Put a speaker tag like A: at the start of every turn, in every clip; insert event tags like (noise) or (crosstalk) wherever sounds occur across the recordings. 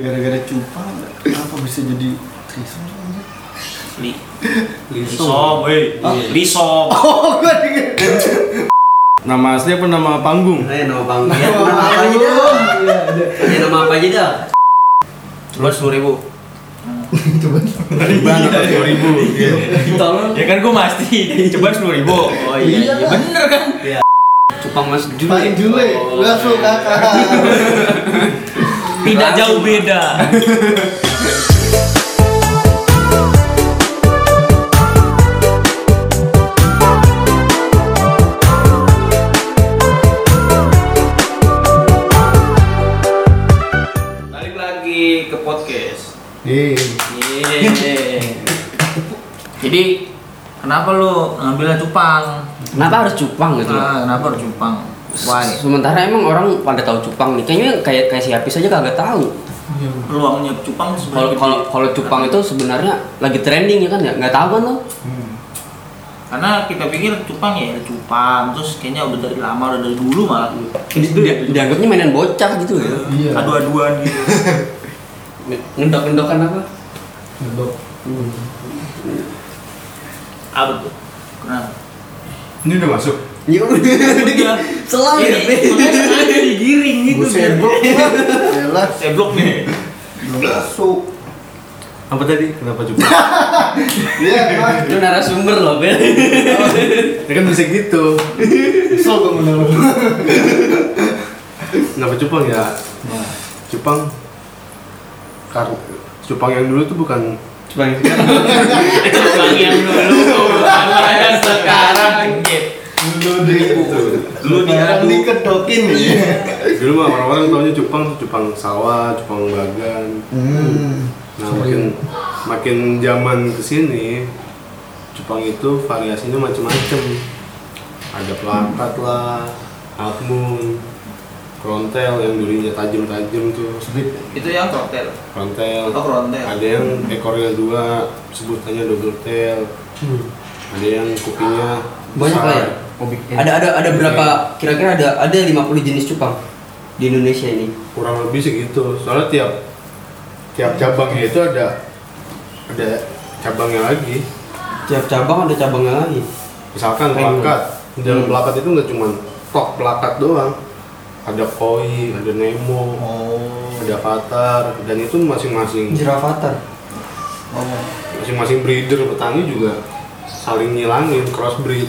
A: gara-gara cupa apa bisa jadi Trisom
B: Li Lisom, woi. Lisom.
A: oh gue denger
C: Nama asli apa nama panggung?
D: Eh, nama
C: (laughs)
D: bang dia. Nama apa aja dah?
C: iya,
D: Ya, nama apa aja dah? Coba sepuluh ribu.
C: Ban atau dua ribu? iya,
D: Tolong.
B: Ya kan gua masti. Coba sepuluh ribu. Oh
A: Iya.
B: iya, iya bener kan?
D: Cupang Mas
A: paling
D: Juli.
A: Jule
B: Oh.
A: gue suka kakak
B: Tidak jauh beda. Balik lagi ke podcast.
A: Ih,
B: Yeay. Iya. Jadi kenapa lu ngambilnya cupang?
D: Kenapa harus cupang gitu?
B: Ah, kenapa harus cupang? Why?
D: Sementara emang orang pada tahu cupang nih. Kayaknya kayak kayak si Apis aja kagak tahu.
A: Iya,
B: Peluangnya cupang
D: Kalau
B: sebenarnya
D: kalau
B: gede.
D: kalau cupang itu sebenarnya lagi trending ya kan ya? Nggak tahu kan lo?
A: Hmm,
B: karena kita pikir cupang ya ada cupang terus kayaknya udah dari lama udah dari dulu malah
D: Dia- Dianggapnya mainan bocah gitu ya.
A: Iya.
B: adu-aduan gitu.
D: Ngendok-ngendokan (laughs) apa?
A: ngedok
B: Apa tuh? Kenapa?
C: Ini udah masuk.
D: Ya udah. Selam
B: Ini
D: ya. Pi.
B: makanya sengaja digiring gitu
A: buset
B: biar-
A: bro jelas
B: Saya blok nih.
A: masuk
C: Apa tadi? Kenapa coba?
A: iya emang
D: Lu narasumber loh, Bel.
C: (laughs) ya kan bisa gitu.
A: kesel gue menurut
C: Kenapa cupang ya? Cupang kar cupang yang dulu tuh bukan cupang yang sekarang.
B: Cupang yang dulu. (laughs) Cupang yang sekarang.
A: dulu di
B: Dulu
A: Sekarang
B: diadu.
A: dikedokin ya
C: dulu mah orang-orang taunya cupang tuh cupang sawah, cupang bagan.
A: hmm
C: Nah makin makin zaman kesini cupang itu variasinya macam-macam. Ada pelakat lah, half moon, krontel yang durinya tajam-tajam tuh.
A: Sweet.
B: Itu yang koktel. Oh,
C: Frontel.
B: frontel.
C: Ada yang ekornya dua, sebutannya double tail.
A: Hmm.
C: Ada yang kupingnya
D: Banyak lah ya?
A: Oh,
D: Ada ada ada berapa kira-kira ada ada 50 jenis cupang di Indonesia ini.
C: Kurang lebih segitu. Soalnya tiap tiap cabangnya itu ada ada cabangnya lagi.
D: Tiap cabang ada cabangnya lagi.
C: Misalkan
D: Pengen.
C: pelakat. Di dalam
D: Hmm.
C: pelakat itu nggak cuma tok pelakat doang. Ada koi, ada nemo,
A: oh
C: ada patar, dan itu
D: Iya.
C: masing-masing
D: Jirafatar.
A: oh
C: masing-masing breeder petani juga saling ngilangin crossbreed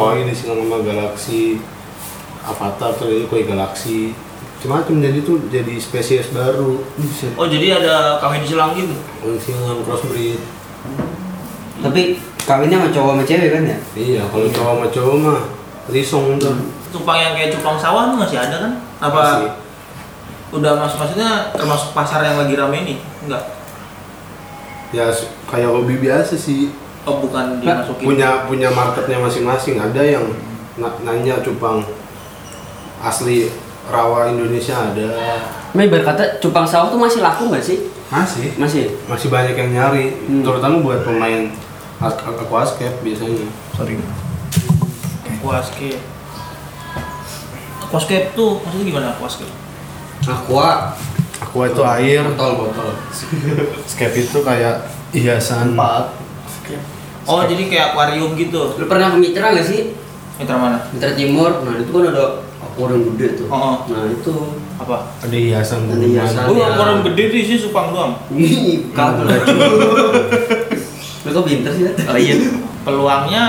C: koi disilang sama galaksi avatar tuh jadi koi galaksi macam-macam jadi tuh jadi spesies baru
D: Buset.
B: Oh jadi ada kawin silang gitu.
C: koi silang crossbreed
D: Tapi kawinnya sama cowok sama cewek kan ya?
C: iya kalau cowok sama cowok mah risong tuh
B: Cupang yang kayak cupang sawah tuh masih ada kan? Apa
C: Masih.
B: udah masuk maksudnya termasuk pasar yang lagi rame ini? Enggak.
C: ya s- kayak hobi biasa sih
B: Oh bukan dimasukin.
C: punya punya marketnya masing-masing ada yang na- nanya cupang asli rawa Indonesia ada
D: Mei berkata cupang sawah tuh masih laku nggak sih?
C: masih
D: Masih.
C: masih banyak yang nyari
D: Hmm.
C: terutama buat pemain ak- ak- aquascape biasanya
B: Sorry. Aquascape. Aquascape tuh maksudnya gimana aquascape?
D: Aqua.
C: aqua itu air
D: Botol botol.
C: scape itu kayak hiasan
A: empat
B: Oh jadi kayak akuarium gitu.
D: Lu pernah ke Mitra nggak sih?
B: Mitra mana?
D: Mitra Timur. Nah itu kan ada akuarium gede tuh.
B: Oh.
D: Nah itu.
B: Apa?
C: ada hiasan ya.
D: Ada hiasan.
B: Oh
D: Ada.
B: akuarium gede di sini cupang doang.
D: Ih, kagak. Lu kok pinter sih? ya? Nat?
B: Oh iya. Peluangnya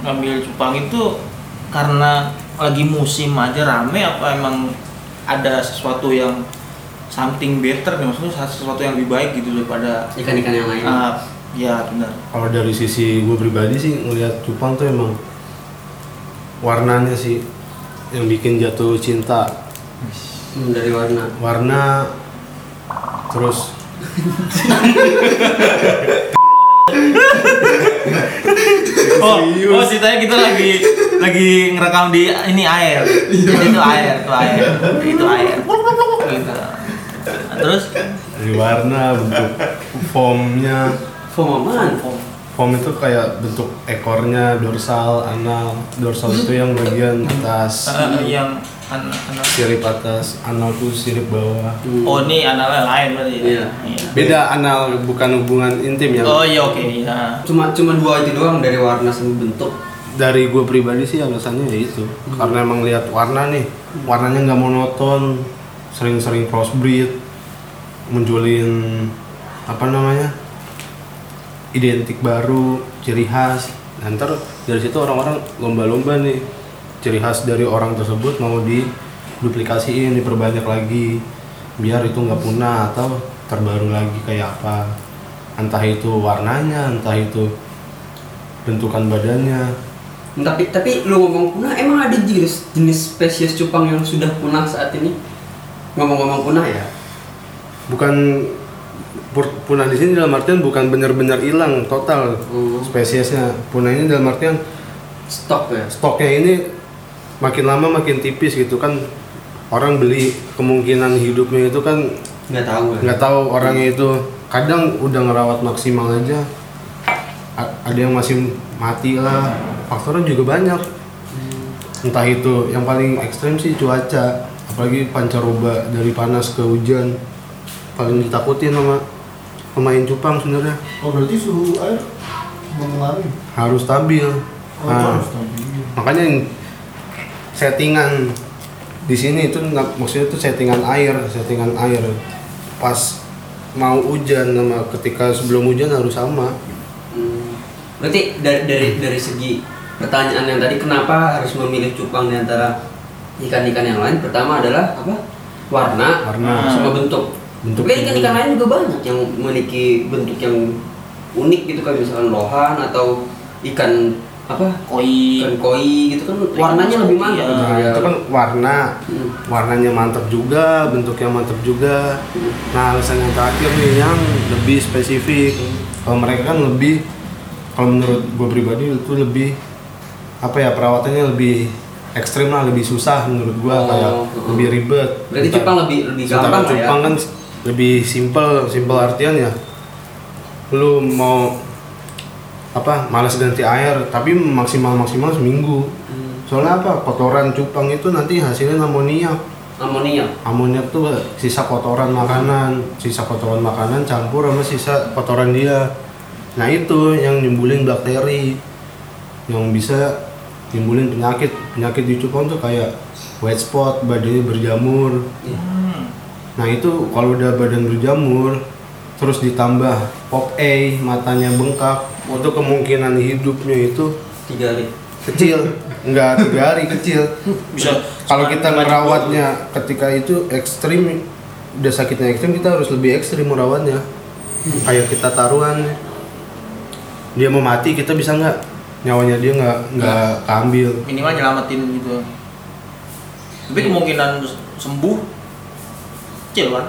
B: ngambil cupang itu karena lagi musim aja rame apa emang ada sesuatu yang something better nih maksudnya sesuatu yang lebih baik gitu daripada
D: Ikan-ikan yang lain.
B: Ah, ya benar.
C: kalau dari sisi gue pribadi sih ngelihat cupang tuh emang warnanya sih yang bikin jatuh cinta
D: Hmm, dari warna.
C: warna terus
B: Oh, oh ceritanya kita lagi lagi ngerekam di ini air. Jadi itu air, itu air, itu air. Gitu. Nah, terus
C: dari warna bentuk formnya
D: Form apaan?
C: form itu kayak bentuk ekornya dorsal anal dorsal itu yang bagian atas
B: eh, yang An- anak-
C: sirip atas, anal tuh sirip bawah.
D: Hmm.
B: Oh ini analnya lain berarti. ya?
D: Iya.
B: Iya.
C: Beda anal bukan hubungan intim ya.
B: Oh iya oke iya.
D: Cuma cuma dua itu doang dari warna sama bentuk.
C: Dari gue pribadi sih alasannya ya itu karena emang lihat warna nih, warnanya nggak monoton, sering-sering crossbreed, munculin apa namanya identik baru, ciri khas. Nah, ntar dari situ orang-orang lomba-lomba nih ciri khas dari orang tersebut mau diduplikasiin, diperbanyak lagi biar itu nggak punah atau terbaru lagi kayak apa entah itu warnanya entah itu bentukan badannya
D: Hmm, Tapi tapi lu ngomong punah, emang ada jenis jenis spesies cupang yang sudah punah saat ini? Ngomong-ngomong punah ya.
C: bukan pur- punah di sini dalam artian bukan benar-benar hilang total
D: Hmm.
C: spesiesnya punah ini dalam artian
D: Stok ya.
C: stoknya ini makin lama makin tipis gitu kan orang beli kemungkinan hidupnya itu kan
D: Nggak tahu ya.
C: nggak tahu orangnya itu kadang udah ngerawat maksimal aja a- ada yang masih mati lah faktornya juga banyak entah itu yang paling ekstrim sih cuaca apalagi pancaroba dari panas ke hujan paling ditakutin sama pemain cupang sebenarnya
A: Oh berarti suhu air mengalami.
C: harus stabil
A: Oh,
C: Nah,
A: harus stabil.
C: makanya yang settingan di sini itu nggak- maksudnya itu settingan air settingan air pas mau hujan sama ketika sebelum hujan harus sama
D: Hmm. Berarti dari, dari dari segi pertanyaan yang tadi kenapa harus memilih cupang di antara ikan-ikan yang lain? Pertama adalah apa? Warna,
C: Warna.
D: sama bentuk.
C: Bentuk
D: Tapi kan
C: juga.
D: ikan-ikan lain juga banyak yang memiliki bentuk yang unik gitu kan misalkan lohan atau ikan apa?
B: Koi.
D: Ikan koi gitu kan warnanya lebih mantap.
B: Iya.
D: gitu
C: nah,
D: ya.
C: itu kan warna
D: Hmm.
C: warnanya mantap juga bentuknya mantap juga nah alasan yang terakhir nih yang lebih spesifik kalau mereka kan lebih kalau menurut gue pribadi itu lebih apa ya perawatannya lebih ekstrim lah lebih susah menurut gue
D: Oh,
C: kayak
D: heeh.
C: lebih ribet
D: Berarti
C: Bentar.
D: cupang lebih lebih
C: Sementara
D: gampang lah ya.
C: cupang kan lebih simpel, simpel artian ya. Lu mau apa? Malas ganti air, tapi maksimal maksimal seminggu.
D: Hmm.
C: Soalnya apa? Kotoran cupang itu nanti hasilnya amoniak.
D: Amoniak.
C: Amoniak tuh eh, sisa kotoran makanan, sisa kotoran makanan campur sama sisa kotoran dia. Nah itu yang nimbulin bakteri yang bisa nimbulin penyakit. Penyakit di cupang tuh kayak white spot, badannya berjamur,
D: Iya.
B: Hmm.
C: Nah itu kalau udah badan berjamur terus ditambah pop A matanya bengkak untuk kemungkinan hidupnya itu
D: Tiga hari.
C: kecil nggak tiga hari kecil
B: Bisa.
C: Iya. kalau kita
B: Cuma-
C: merawatnya ketika itu ekstrim udah sakitnya ekstrim kita harus lebih ekstrim merawatnya kayak kita taruhan dia mau mati kita bisa nggak nyawanya dia nggak nggak ambil
B: minimal nyelamatin gitu. Tapi
C: Iya.
B: kemungkinan sembuh kecil kan?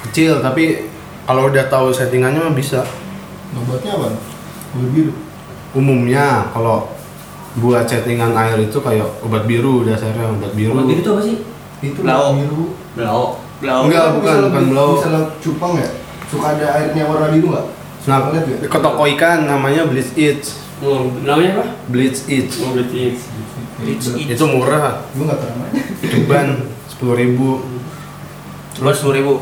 C: kecil tapi kalau udah tahu settingannya mah bisa
A: Obatnya apa? Obat biru.
C: umumnya kalau buat settingan air itu kayak obat biru dasarnya obat biru
D: Kalau biru itu apa sih?
A: Itu
B: Blau.
A: biru.
D: Belaok.
B: Blau.
C: Enggak,
A: Tapi
C: bukan,
A: misalnya-
C: bukan blau.
A: Misalnya cupang ya, suka ada airnya warna biru nggak?
C: nah
A: Suka lihat ya. nggak?
C: ke toko ikan namanya bleach it
D: Oh, namanya apa?
C: bleach it
D: Oh, berarti
B: It's
A: Gue-
B: it.
C: itu murah
A: Gue nggak pernah main.
C: cuman sepuluh ribu
B: Coba sepuluh ribu.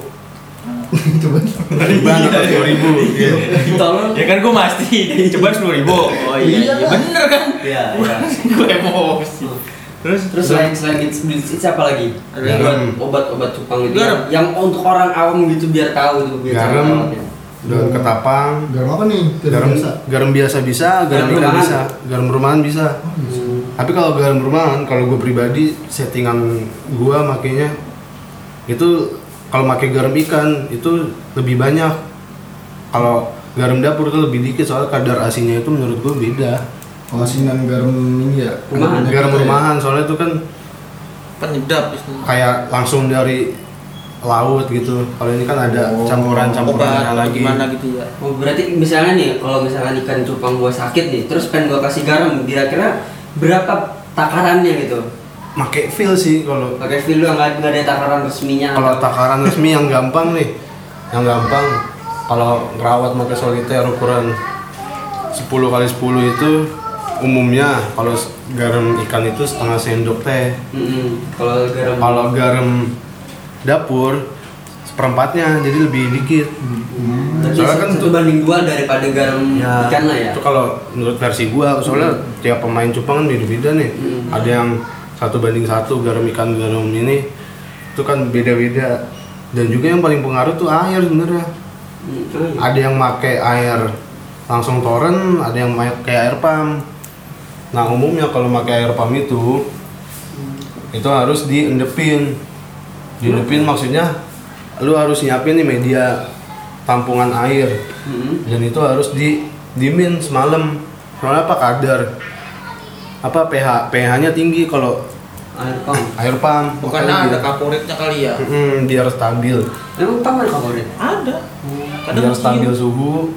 A: Coba.
C: cuman sepuluh ribu iya.
D: Iya.
C: (laughs)
D: ditolong.
B: Ya kan gue pasti. (laughs) Coba sepuluh ribu. Oh iya, iya bener kan?
D: Iya, iya.
B: gue emosi. Terus
D: Terus selain selain it's it's, it's apa lagi?
B: Ada
D: Yang
C: garam.
D: buat obat-obat cupang itu
B: Garam.
D: yang, yang untuk orang awam gitu biar tahu ya. itu biar cara
C: Garam.
D: merawatnya.
C: daun ketapang
A: Garam apa nih?
C: garam garam biasa bisa garam
D: Garam
C: ikan
D: rumahan.
C: bisa garam rumahan bisa
D: Hmm.
C: tapi kalau garam rumahan kalau gue pribadi settingan gua makainya itu kalau pakai garam ikan itu lebih banyak kalau garam dapur itu lebih dikit soalnya kadar asinnya itu menurut gue beda
A: Oh, asinan garam ini ya.
D: Rumahan.
A: Ada
C: garam
A: penyakit ya?
C: rumahan soalnya itu kan
B: penyedap istilahnya.
C: kayak langsung dari laut gitu kalau ini kan ada
A: Oh,
C: campuran campurannya
B: obat
C: lagi
B: gimana gitu ya.
D: Oh, berarti misalnya nih kalau misalkan ikan cupang gua sakit nih, terus pengen gua kasih garam, kira-kira berapa takarannya gitu?
C: pakai feel sih kalau
D: Pakai feel doang nggak nggak ada takaran resminya.
C: Kalau takaran resmi yang gampang nih, yang gampang kalau ngerawat pakai soliter ukuran 10 kali 10 itu umumnya kalau s- garam ikan itu setengah sendok teh.
D: Mm-mm. Hmm, Kalau garam
C: Kalau garam dapur seperempatnya jadi lebih dikit.
D: Hmm. berarti
C: Soalnya kan
D: satu
C: tuh-
D: banding dua daripada garam
C: Ya,
D: ikan lah ya.
C: Itu kalau menurut versi gua soalnya tiap pemain cupang kan beda-beda nih.
D: Hmm.
C: Ada yang satu banding satu garam ikan garam ini itu kan beda-beda dan juga yang paling pengaruh tuh air sebenarnya.
D: Mm, terus?
C: Ada yang pakai air langsung toren, ada yang pakai air pam. Nah umumnya kalau pakai air pam itu itu harus diendepin. Diendepin maksudnya lu harus nyiapin nih media tampungan air
D: Mm-mm.
C: dan itu harus di dimin semalam soalnya apa kadar apa pH pH nya tinggi kalau
D: Air pam.
C: air pam
B: Bukan
C: Makanya
B: ada
C: dia-
B: kaporitnya kali ya?
C: Mm, biar stabil
D: Emang pam ada favorit?
B: Ada.
C: biar
B: begini.
C: stabil suhu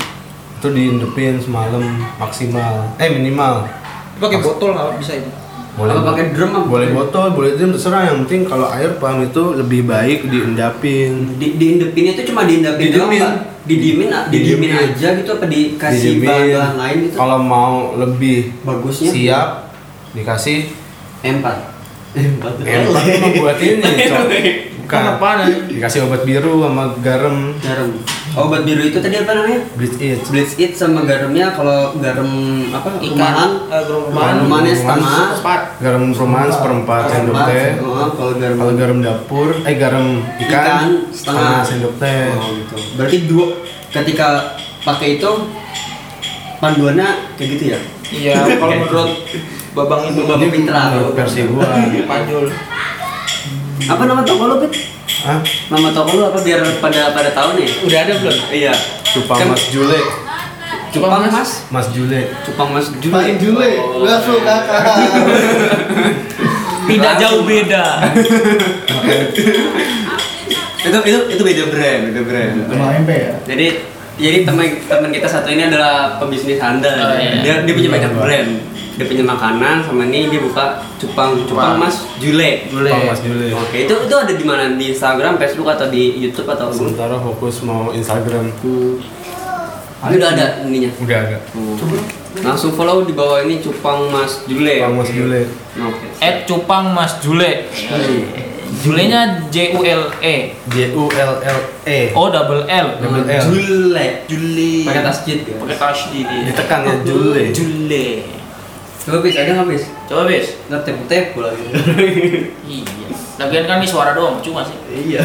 C: itu diindepin semalam maksimal eh minimal
B: Pakai botol nggak bisa itu?
C: boleh
D: Apa pakai drum apa?
C: boleh botol boleh drum terserah yang penting kalau air pam itu lebih baik diendapin
D: Di, diindepin itu cuma diindepin doang,
C: Didemin.
D: Pak. Didimin, didimin
C: Didemin.
D: aja gitu apa dikasih
C: Didimin.
D: bahan-bahan lain gitu?
C: kalau mau lebih
D: Bagusnya
C: siap dikasih
D: empat. Empat.
C: Empat emang buat
D: (laughs)
C: ini, Cok.
D: iya.
C: Bukan.
B: Apaan ya?
C: Dikasih obat biru sama garam
D: Garam. Oh, obat biru itu tadi apa namanya?
C: bleach iya, it.
D: Blitz it sama garamnya kalau garam apa
B: Ikan,
D: rumahan
B: eh, garam rumahan.
D: rumahannya
C: Rumahan.
D: setengah
B: Sepat.
C: Garam rumahan seperempat sendok
D: Empat,
C: teh.
D: oh, kalau garam
C: Kalau garam dapur, eh garam ikan, setengah sendok teh.
D: Oh, gitu. Berarti dua ketika pakai itu panduannya kayak gitu ya.
C: Hmm. (laughs)
B: Iya, kalau menurut Babang itu
D: Babang
C: Ini
D: Pintra.
C: menurut versi gua.
B: Panjul.
D: Apa nama toko lu, Pit?
C: Hah?
D: Nama toko lu apa biar pada pada tahu nih?
B: Udah ada belum?
D: Iya.
C: Cupang
D: Kan-
C: Mas Jule.
D: Cupang Mas.
C: Mas Jule.
D: Cupang Mas Oh.
A: Paling
D: Juli.
A: Jule, langsung kakak.
B: Tidak jauh beda.
D: Itu itu itu beda brand, beda brand.
A: Sama MP ya?
D: Jadi jadi teman teman kita satu ini adalah pebisnis handal.
B: Oh, iya.
D: Dia dia punya banyak brand. Dia punya makanan sama ini dia buka cupang cupang Mas Jule.
C: Cupang Mas Jule.
D: Oke, itu itu ada di mana? Di Instagram, Facebook atau di YouTube atau apa?
C: Sementara fokus mau Instagram.
D: Ini udah ada ininya.
C: Udah ada.
D: Langsung follow di bawah ini cupang Mas Jule.
C: Cupang Mas Jule.
D: Oke.
B: (laughs) Ed Cupang Mas Jule.
C: Iya.
B: Julenya J U L E
C: J U L L E.
B: O double L.
C: Double L.
D: Jule.
B: Jule.
D: Pakai tasjid ya.
B: Pakai tasdi dia.
C: Ditekan ya Jule.
B: Jule.
D: Coba bis, ada nggak bis?
B: Coba bis.
D: Nggak tepu-tepu lagi.
B: Iya. Lagian kan ini suara doang, cuma sih.
D: iya.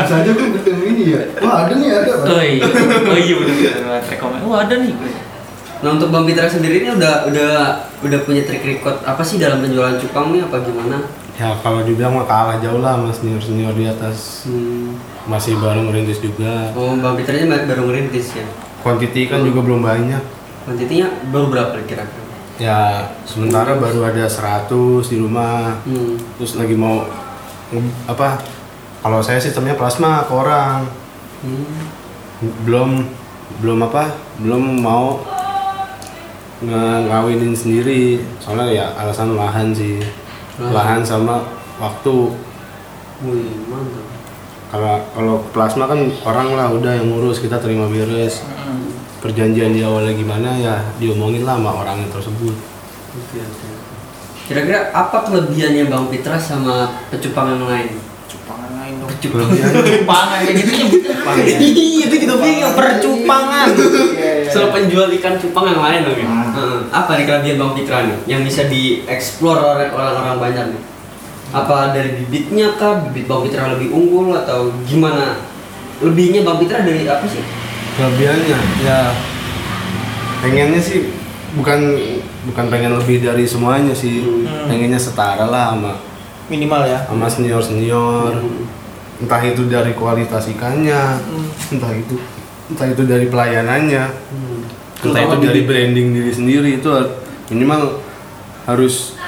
A: Bisa aja gue ketemu ini ya. Wah ada nih ada.
B: Oh iya. Oh iya benar. Rekomend. Wah "Oh, ada nih.
D: Nah untuk Bang Fitra sendiri ini udah udah udah punya trik record apa sih dalam penjualan cupang nih apa gimana?
C: Ya kalau dibilang mah kalah jauh lah sama senior-senior di atas
D: Hmm.
C: masih baru ngerintis juga
D: Oh Bang Fitra ini baru ngerintis ya.
C: quantity kan juga belum banyak
D: Kuantitinya baru berapa kira-kira?
C: ya sementara baru ada 100 di rumah
D: Hmm.
C: terus lagi mau nge- apa kalau saya sistemnya plasma ke orang
D: Hmm.
C: belum belum apa belum mau nge- ngawinin sendiri soalnya ya alasan lahan sih lahan
D: Lahan.
C: sama waktu
D: Wih mantap.
C: kalau kalau plasma kan orang lah udah yang ngurus kita terima beres
B: Hmm.
C: perjanjian di awalnya gimana ya diomongin lah sama orangnya tersebut
D: Oke oke. oke. Kira-kira apa kelebihannya Bang Fitra sama pecupang yang lain?
B: Cupangan lain dong.
C: Kelebihan-
B: Cupangan kayak gitu nyebut cupang. ya? Iya,
D: (laughs) Iya, itu kita bingung percupangan.
A: So,
D: So penjual ikan cupang yang lain dong ya?
B: Ah.
A: Hmm.
D: Heeh. Apa nih kelebihan Bang Fitra nih yang bisa dieksplor oleh orang-orang banyak nih? Apa dari bibitnya kah? Bibit Bang Fitra lebih unggul atau gimana? Lebihnya Bang Fitra dari apa sih?
C: kelebihannya ya pengennya sih bukan bukan pengen lebih dari semuanya sih
D: Hmm.
C: pengennya setara lah sama
B: Minimal ya.
C: sama senior senior entah itu dari kualitas ikannya
B: Hmm.
C: entah itu entah itu dari pelayanannya
B: Hmm.
C: entah
B: Terutama
C: itu dari branding diri sendiri itu har- minimal harus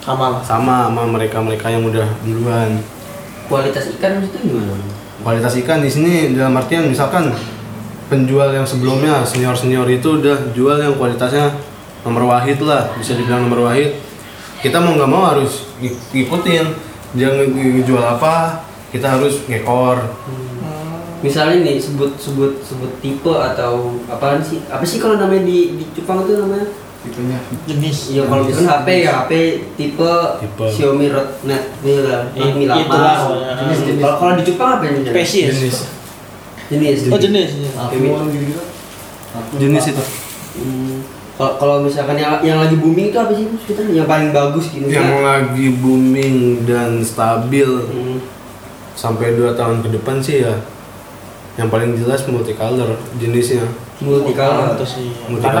B: Sama lah.
C: sama sama mereka mereka yang udah duluan
D: Kualitas ikan itu gimana?
C: kualitas ikan di sini dalam artian misalkan penjual yang sebelumnya senior senior itu udah jual yang kualitasnya nomor wahid lah bisa dibilang nomor wahid kita mau nggak mau harus ik- ikutin dia nge- nge- jual apa kita harus ngekor
B: Hmm.
D: Misalnya nih sebut sebut sebut tipe atau apaan sih? Apa sih kalau namanya di di cupang itu namanya?
A: tipenya
B: jenis
D: Iya kalau misalkan HP ya HP tipe,
C: Tipe.
D: Xiaomi Redmi Redmi
B: Iya, itulah, pokoknya.
D: 8. Jenis- Kalau kalau di Jepang apa yang jenis?
B: spesies
C: jenis
D: Jenis.
B: oh jenis
A: Alphone gitu
C: jenis itu
D: Hmm, Kalau kalau misalkan yang, yang lagi booming itu apa sih Mas? Kita yang paling bagus gitu
C: yang
D: kan?
C: lagi booming dan stabil
D: Hmm.
C: sampai dua tahun ke depan sih ya yang paling jelas multicolor jenisnya
D: multicolor
B: itu sih
C: Multicolor.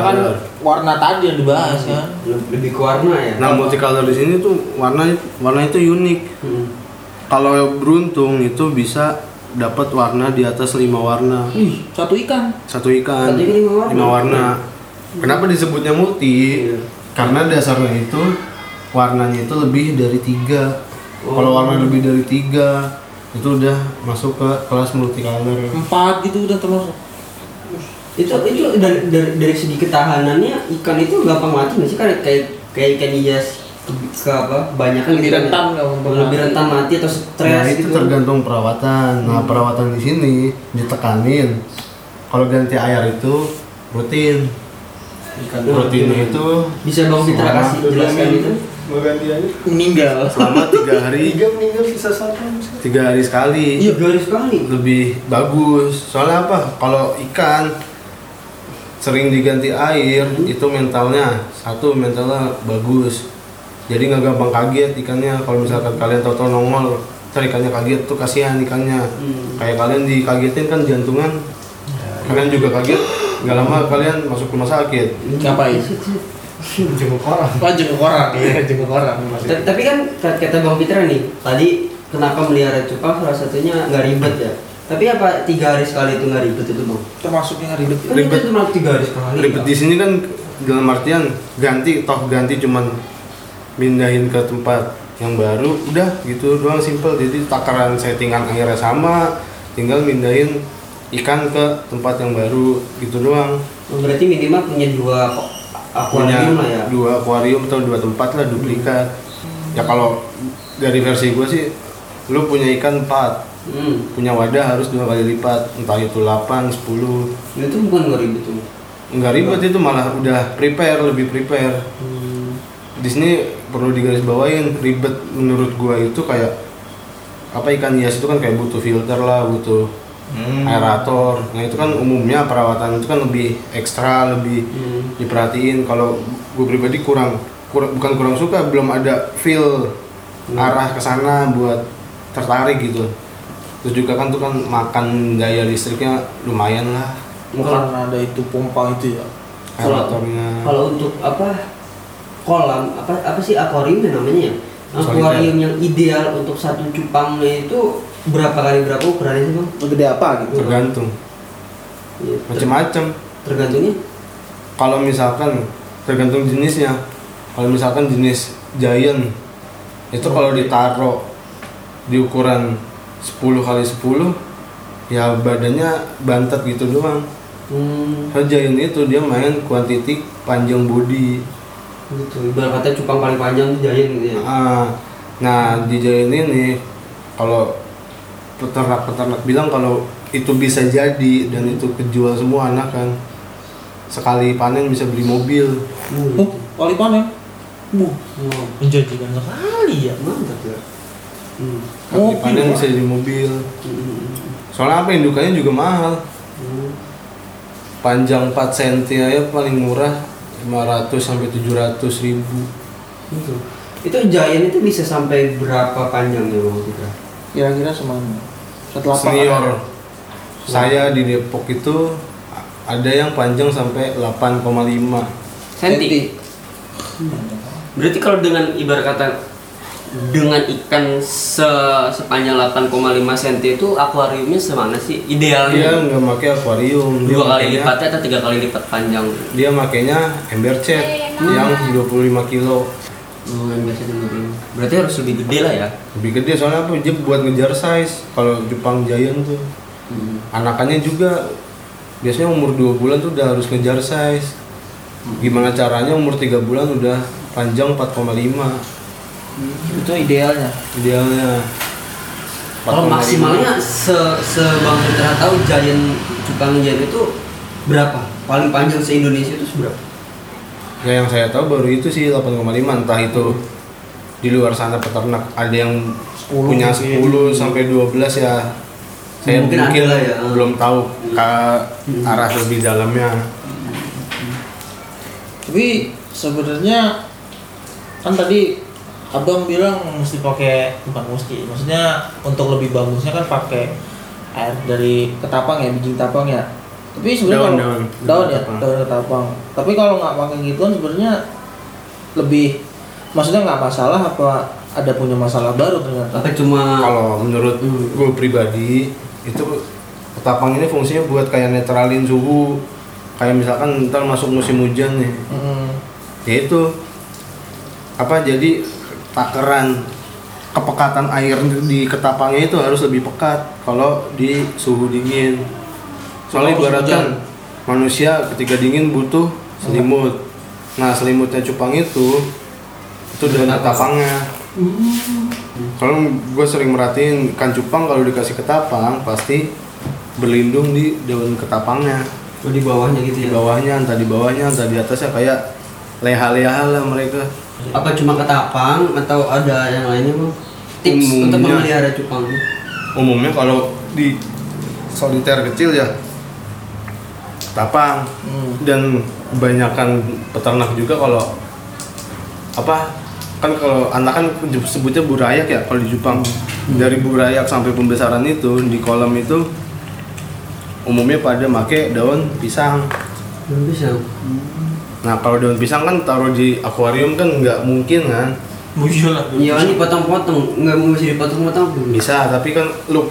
B: karena kan warna tadi yang dibahas kan
D: Le- lebih ke warna ya
C: nah multicolor di sini tuh warna warna itu unik
D: Hmm.
C: kalau beruntung itu bisa dapat warna di atas lima warna
B: Ih, satu ikan
C: satu ikan
D: Satu ikan lima warna.
C: lima warna kenapa disebutnya multi
D: Iya.
C: karena dasarnya itu warnanya itu lebih dari tiga
D: Oh.
C: kalau warna lebih dari tiga itu udah masuk ke kelas multicolor
B: empat gitu udah termasuk
D: itu itu dari, dari dari segi ketahanannya ikan itu gampang mati nggak sih kan kayak kayak ikan hias ke, ke apa banyak kan
B: Lebih rentan gampang
D: lebih
B: mati.
D: rentan mati atau stres
C: Nah, itu
D: gitu Hmm.
C: tergantung perawatan. Nah, perawatan di sini ditekanin. Kalau ganti air itu rutin.
B: ikan
C: Rutinnya itu
D: bisa bang Fitra
C: Semua
D: kasih
A: Udah
D: jelaskan
A: ganti-
D: itu
A: mau ganti aja
B: meninggal
C: selama tiga hari
A: tiga meninggal sisa satu misalnya.
C: tiga hari sekali
D: iya dua hari sekali
C: lebih bagus. Soalnya apa? Kalau ikan sering diganti air itu mentalnya satu mentalnya bagus. Jadi nggak gampang kaget ikannya. Kalau misalkan kalian tahu-tahu nongol, ntar ikannya kaget tuh kasihan ikannya.
D: Hmm.
C: Kayak kalian dikagetin kan jantungan. Kalian juga kaget. Nggak lama kalian masuk rumah sakit.
B: ngapain
A: jenguk orang
B: oh jenguk orang iya jenguk orang
D: Ta- tapi kan ka- kata bang Fitra nih tadi kenapa melihara cupang salah satunya nggak ribet ya tapi apa tiga hari sekali itu nggak ribet itu bang
B: termasuk yang ribet
D: kan
C: Ribet.
D: itu cuma tiga hari sekali
C: Ribet di sini kan dalam artian ganti toh ganti cuman mindahin ke tempat yang baru udah gitu doang simple jadi takaran settingan airnya sama tinggal mindahin ikan ke tempat yang baru gitu doang
D: Oh, berarti minimal punya dua ko-
C: punya
D: akuarium lah ya
C: dua akuarium atau dua tempat lah duplikat ya kalau dari versi gue sih lu punya ikan 4
D: hmm.
C: punya wadah harus dua kali lipat entah itu 8, 10
D: itu bukan nggak ribet tuh
C: nggak ribet itu malah udah prepare lebih prepare
D: Hmm.
C: di sini perlu digarisbawain ribet menurut gua itu kayak apa ikan hias itu kan kayak butuh filter lah butuh
D: Hmm.
C: aerator nah itu kan umumnya perawatan itu kan lebih ekstra lebih
D: Hmm.
C: diperhatiin kalau gue pribadi kurang, kurang bukan kurang suka belum ada feel
D: Hmm.
C: arah ke sana buat tertarik gitu terus juga kan tuh kan makan daya listriknya lumayan lah
D: Kalau-
B: karena ada itu pompa itu ya
D: Kalau-
C: aeratornya
D: Kalau untuk apa kolam apa apa sih akuarium ya namanya ya?
C: Soliter.
D: Akuarium yang ideal untuk satu cupangnya itu berapa kali berapa ukurannya sih bang?
B: gede apa gitu
C: tergantung
D: Iya, ter-
C: macam-macam
D: tergantungnya.
C: kalau misalkan tergantung jenisnya kalau misalkan jenis giant itu kalau ditaruh di ukuran 10 kali 10 ya badannya bantet gitu doang
D: Hmm,
C: kalau giant itu dia main kuantiti panjang body
D: gitu. Ibarat kata cupang paling panjang tuh giant gitu ya.
C: Ah, nah di giant ini kalau peternak-peternak bilang kalau itu bisa jadi dan itu kejual semua anak kan sekali panen bisa beli mobil
D: Hmm,
B: oh kali panen bu
D: wow,
B: menjanjikan sekali ya
D: mantap ya. Hmm.
C: sekali
B: Mobil, ya?
C: panen
B: Pak.
C: bisa jadi mobil
D: hmm, hmm,
C: Soalnya apa indukannya juga mahal.
D: hmm.
C: Panjang 4 cm aja paling murah 500 sampai 700 ribu.
D: Gitu. Itu giant itu bisa sampai berapa panjangnya bang kita?
B: kira-kira semana setelah ya?
C: Senior saya di Depok itu ada yang panjang sampai 8,5.
B: senti
E: Berarti kalau dengan ibarat kata dengan ikan se- sepanjang 8,5 cm itu akuariumnya semana sih
C: Dia
E: idealnya?
C: nggak pakai akuarium. Dia
E: Dua kali
C: makainya-
E: lipatnya atau tiga kali lipat panjang?
C: Dia makainya ember cat yang 25 kilo.
D: Oh, yang biasa dulu dulu.
E: Berarti harus lebih gede lah ya.
C: Lebih gede soalnya apa? Dia buat ngejar size. Kalau Jepang Giant tuh
D: Hmm.
C: anakannya juga biasanya umur 2 bulan tuh udah harus ngejar size gimana caranya umur 3 bulan udah panjang 4,5
B: itu idealnya
C: idealnya
D: Kalau
C: 4,5.
D: Oh, maksimalnya se sebang Fitra tahu giant Jepang giant itu berapa? Paling panjang se Indonesia itu seberapa?
C: Ya yang saya tahu baru itu sih 8,5 entah itu
D: Hmm.
C: di luar sana peternak ada yang
B: 10
C: punya
B: mungkin.
C: 10 sampai 12 ya. Saya
D: ya. Mungkin
C: mungkin,
D: ada lah ya.
C: belum tahu ke arah lebih dalamnya.
B: Tapi sebenarnya kan tadi abang bilang mesti pakai bukan mesti, maksudnya untuk lebih bagusnya kan pakai air dari ketapang ya, biji ketapang ya. Tapi sebenarnya
C: Daun,
B: kalau-
C: daun.
B: daun ya,
C: Ketapang.
B: daun ketapang. Tapi kalau nggak pakai gituan sebenarnya lebih maksudnya nggak masalah apa ada punya masalah baru ternyata.
D: apa cuma
C: Kalau menurut gue pribadi itu ketapang ini fungsinya buat kayak netralin suhu. Kayak misalkan ntar masuk musim hujan nih.
B: Hmm.
C: Ya itu apa jadi takaran kepekatan air di ketapangnya itu harus lebih pekat kalau di suhu dingin. Soalnya
B: Kalau
C: ibaratkan
B: hujan.
C: manusia ketika dingin butuh selimut. Nah, selimutnya cupang itu itu dengan ketapangnya.
B: Hmm.
C: Kalau gue sering merhatiin ikan cupang kalau dikasih ketapang pasti berlindung di daun ketapangnya
D: oh, di bawahnya gitu
C: di
D: ya
C: bawahnya entah di bawahnya entah di atasnya kayak leha-leha lah mereka
D: apa cuma ketapang atau ada yang lainnya bang tips untuk
C: Umumnya.
D: memelihara cupang
C: umumnya kalau di soliter kecil ya tapang
B: Hmm.
C: dan kebanyakan peternak juga kalau apa kan kalau anak kan sebutnya burayak ya kalau di Jepang dari burayak sampai pembesaran itu di kolam itu umumnya pada make daun pisang
D: belum bisa
C: nah kalau daun pisang kan taruh di akuarium kan nggak mungkin kan
B: Muncul lah.
D: iya ini potong-potong nggak mau bisa dipotong-potong
C: bisa tapi kan look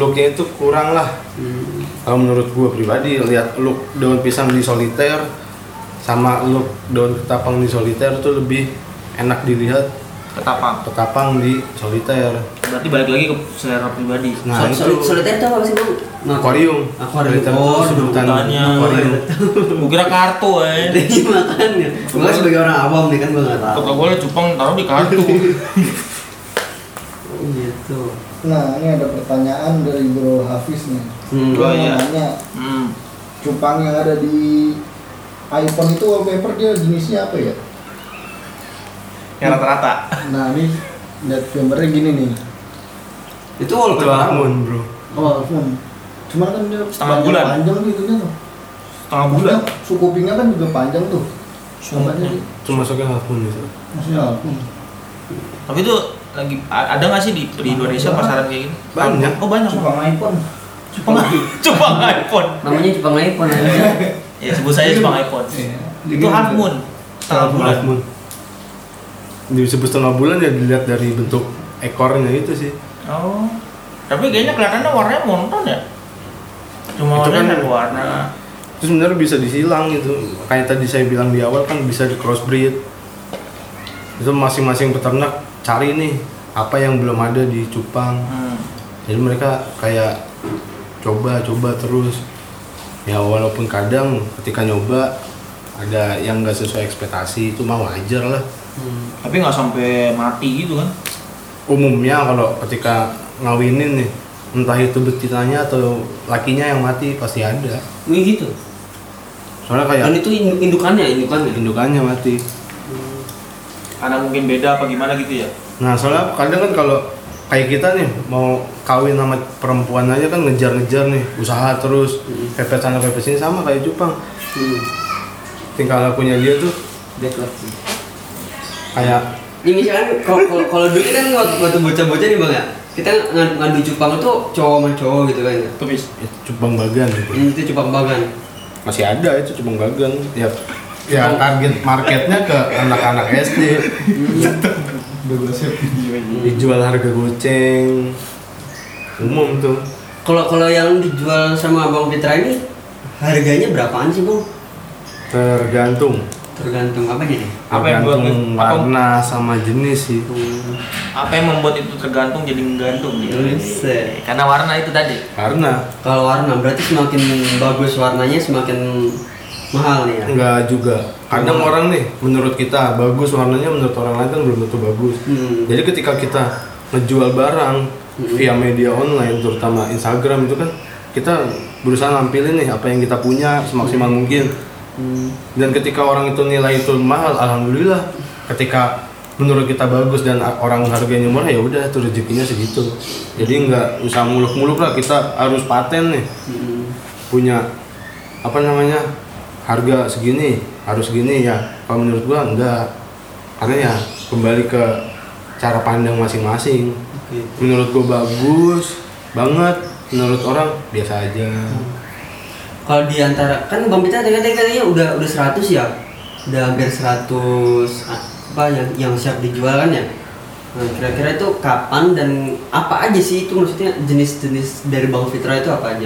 C: looknya itu kurang lah
D: Hmm.
C: kalau menurut gue pribadi lihat look daun pisang di soliter sama look daun ketapang di soliter tuh lebih enak dilihat
B: Ketapang.
C: ketapang di soliter
B: Berarti balik lagi ke selera pribadi.
C: nah
D: Sol- sol-
C: itu
D: solitaire itu apa sih bang? Nah,
C: akuarium
D: Akuarium.
C: Soliter tuh
D: Oh,
C: sedotan
B: sedotannya.
C: akuarium
B: Gue kira kartu
D: (laughs)
B: eh.
D: Jadi makannya. Gue sebagai orang awam nih kan gue nggak tahu.
B: Kagak boleh cupang taruh di kartu.
D: Oh, gitu.
A: Nah, ini ada pertanyaan dari Bro Hafiz nih.
D: Hmm.
A: Dia
B: Oh, iya.
A: nanya,
B: hmm.
A: cupang yang ada di iPhone itu wallpaper dia jenisnya apa ya?
B: Yang rata-rata.
A: Nah, ini lihat gambarnya gini nih.
C: itu
D: Itu wallpaper apa?
C: lamun bro
A: Oh, iPhone. Cuman kan dia
B: Setengah
A: panjang-
B: bulan.
A: panjang gitu kan.
B: (laughs) Setengah bulan.
A: Suku kupingnya kan juga panjang tuh.
B: Sungutnya.
A: Makanya-
C: cuma masuknya lamun itu
A: Maksudnya iPhone.
B: Tapi itu lagi a- ada nggak sih di, di Indonesia pasaran kayak gini?
C: Banyak.
B: Oh banyak.
A: Cupang iPhone.
B: Cupang, (laughs) cupang iPhone.
D: Namanya cupang iPhone aja.
C: Iya.
B: Ya sebut saya cupang iPhone.
A: Iya.
B: Itu half moon. Setengah bulan.
C: lamun disebut setengah bulan ya dilihat dari bentuk ekornya itu sih
B: Oh. Tapi kayaknya kelihatannya warnanya monoton ya. Cuma
C: Itu
B: warnanya
C: kan-
B: ada warna.
C: itu sebenarnya bisa disilang gitu kayak tadi saya bilang di awal kan bisa di crossbreed itu masing-masing peternak cari nih apa yang belum ada di cupang
B: Hmm.
C: jadi mereka kayak coba-coba terus ya walaupun kadang ketika nyoba ada yang nggak sesuai ekspektasi itu mah wajar lah
B: Tapi nggak sampai mati gitu kan?
C: umumnya kalau ketika ngawinin nih entah itu betinanya atau lakinya yang mati pasti ada
E: Wih gitu.
C: soalnya kayak
E: Dan itu induk- indukannya, indukannya.
C: indukannya mati
B: Karena mungkin beda apa gimana gitu ya?
C: Nah, soalnya kadang kan kalau kayak kita nih mau kawin sama perempuan aja kan ngejar-ngejar nih, usaha terus, pepet sana pepet sini sama kayak Jepang.
D: Hmm.
C: Tingkah lakunya dia tuh
D: Backlog sih.
C: kayak
D: Ini misalkan kalau- kalau kalau dulu kan waktu waktu bocah-bocah nih bang ya, kita ng- ngadu cupang itu cowok sama cowok gitu kan. ya.
B: Kebis.
C: ya, Jepang bagan gitu.
D: Hmm, Itu cupang bagan.
C: Masih ada itu Jepang bagan. Ya ya target marketnya ke anak-anak SD
A: Udah gue save video ini.
C: dijual harga goceng umum tuh
D: Kalau kalau yang dijual sama Bang Fitra ini harganya berapaan sih bang?
C: tergantung
D: Tergantung apa jadi?
B: Apa yang buat-
C: tergantung
B: apa-
C: warna sama jenis sih
B: Apa yang membuat itu tergantung jadi menggantung gitu?
D: Buset.
B: Karena warna itu tadi.
C: karena
D: Kalau warna berarti semakin bagus warnanya semakin mahal nih ya.
C: Enggak juga. Kadang orang nih menurut kita bagus warnanya menurut orang lain kan belum tentu bagus.
D: Hmm.
C: Jadi ketika kita ngejual barang via media online terutama Instagram itu kan kita berusaha nampilin nih apa yang kita punya semaksimal mungkin. dan ketika orang itu nilai itu mahal alhamdulillah ketika menurut kita bagus dan a- orang harganya murah ya udah itu rezekinya segitu jadi nggak usah muluk-muluk lah kita harus paten nih
D: hmm.
C: punya apa namanya harga segini harus segini ya kalau menurut gua enggak karena ya kembali ke cara pandang masing-masing menurut gua bagus banget menurut orang biasa aja
D: Kalau di antara kan Bang Pitra tadi tadi katanya udah udah 100 ya. Udah hampir 100 apa yang yang siap dijual kan ya. Nah, kira-kira itu kapan dan apa aja sih itu maksudnya jenis-jenis dari Bang Fitra itu apa aja?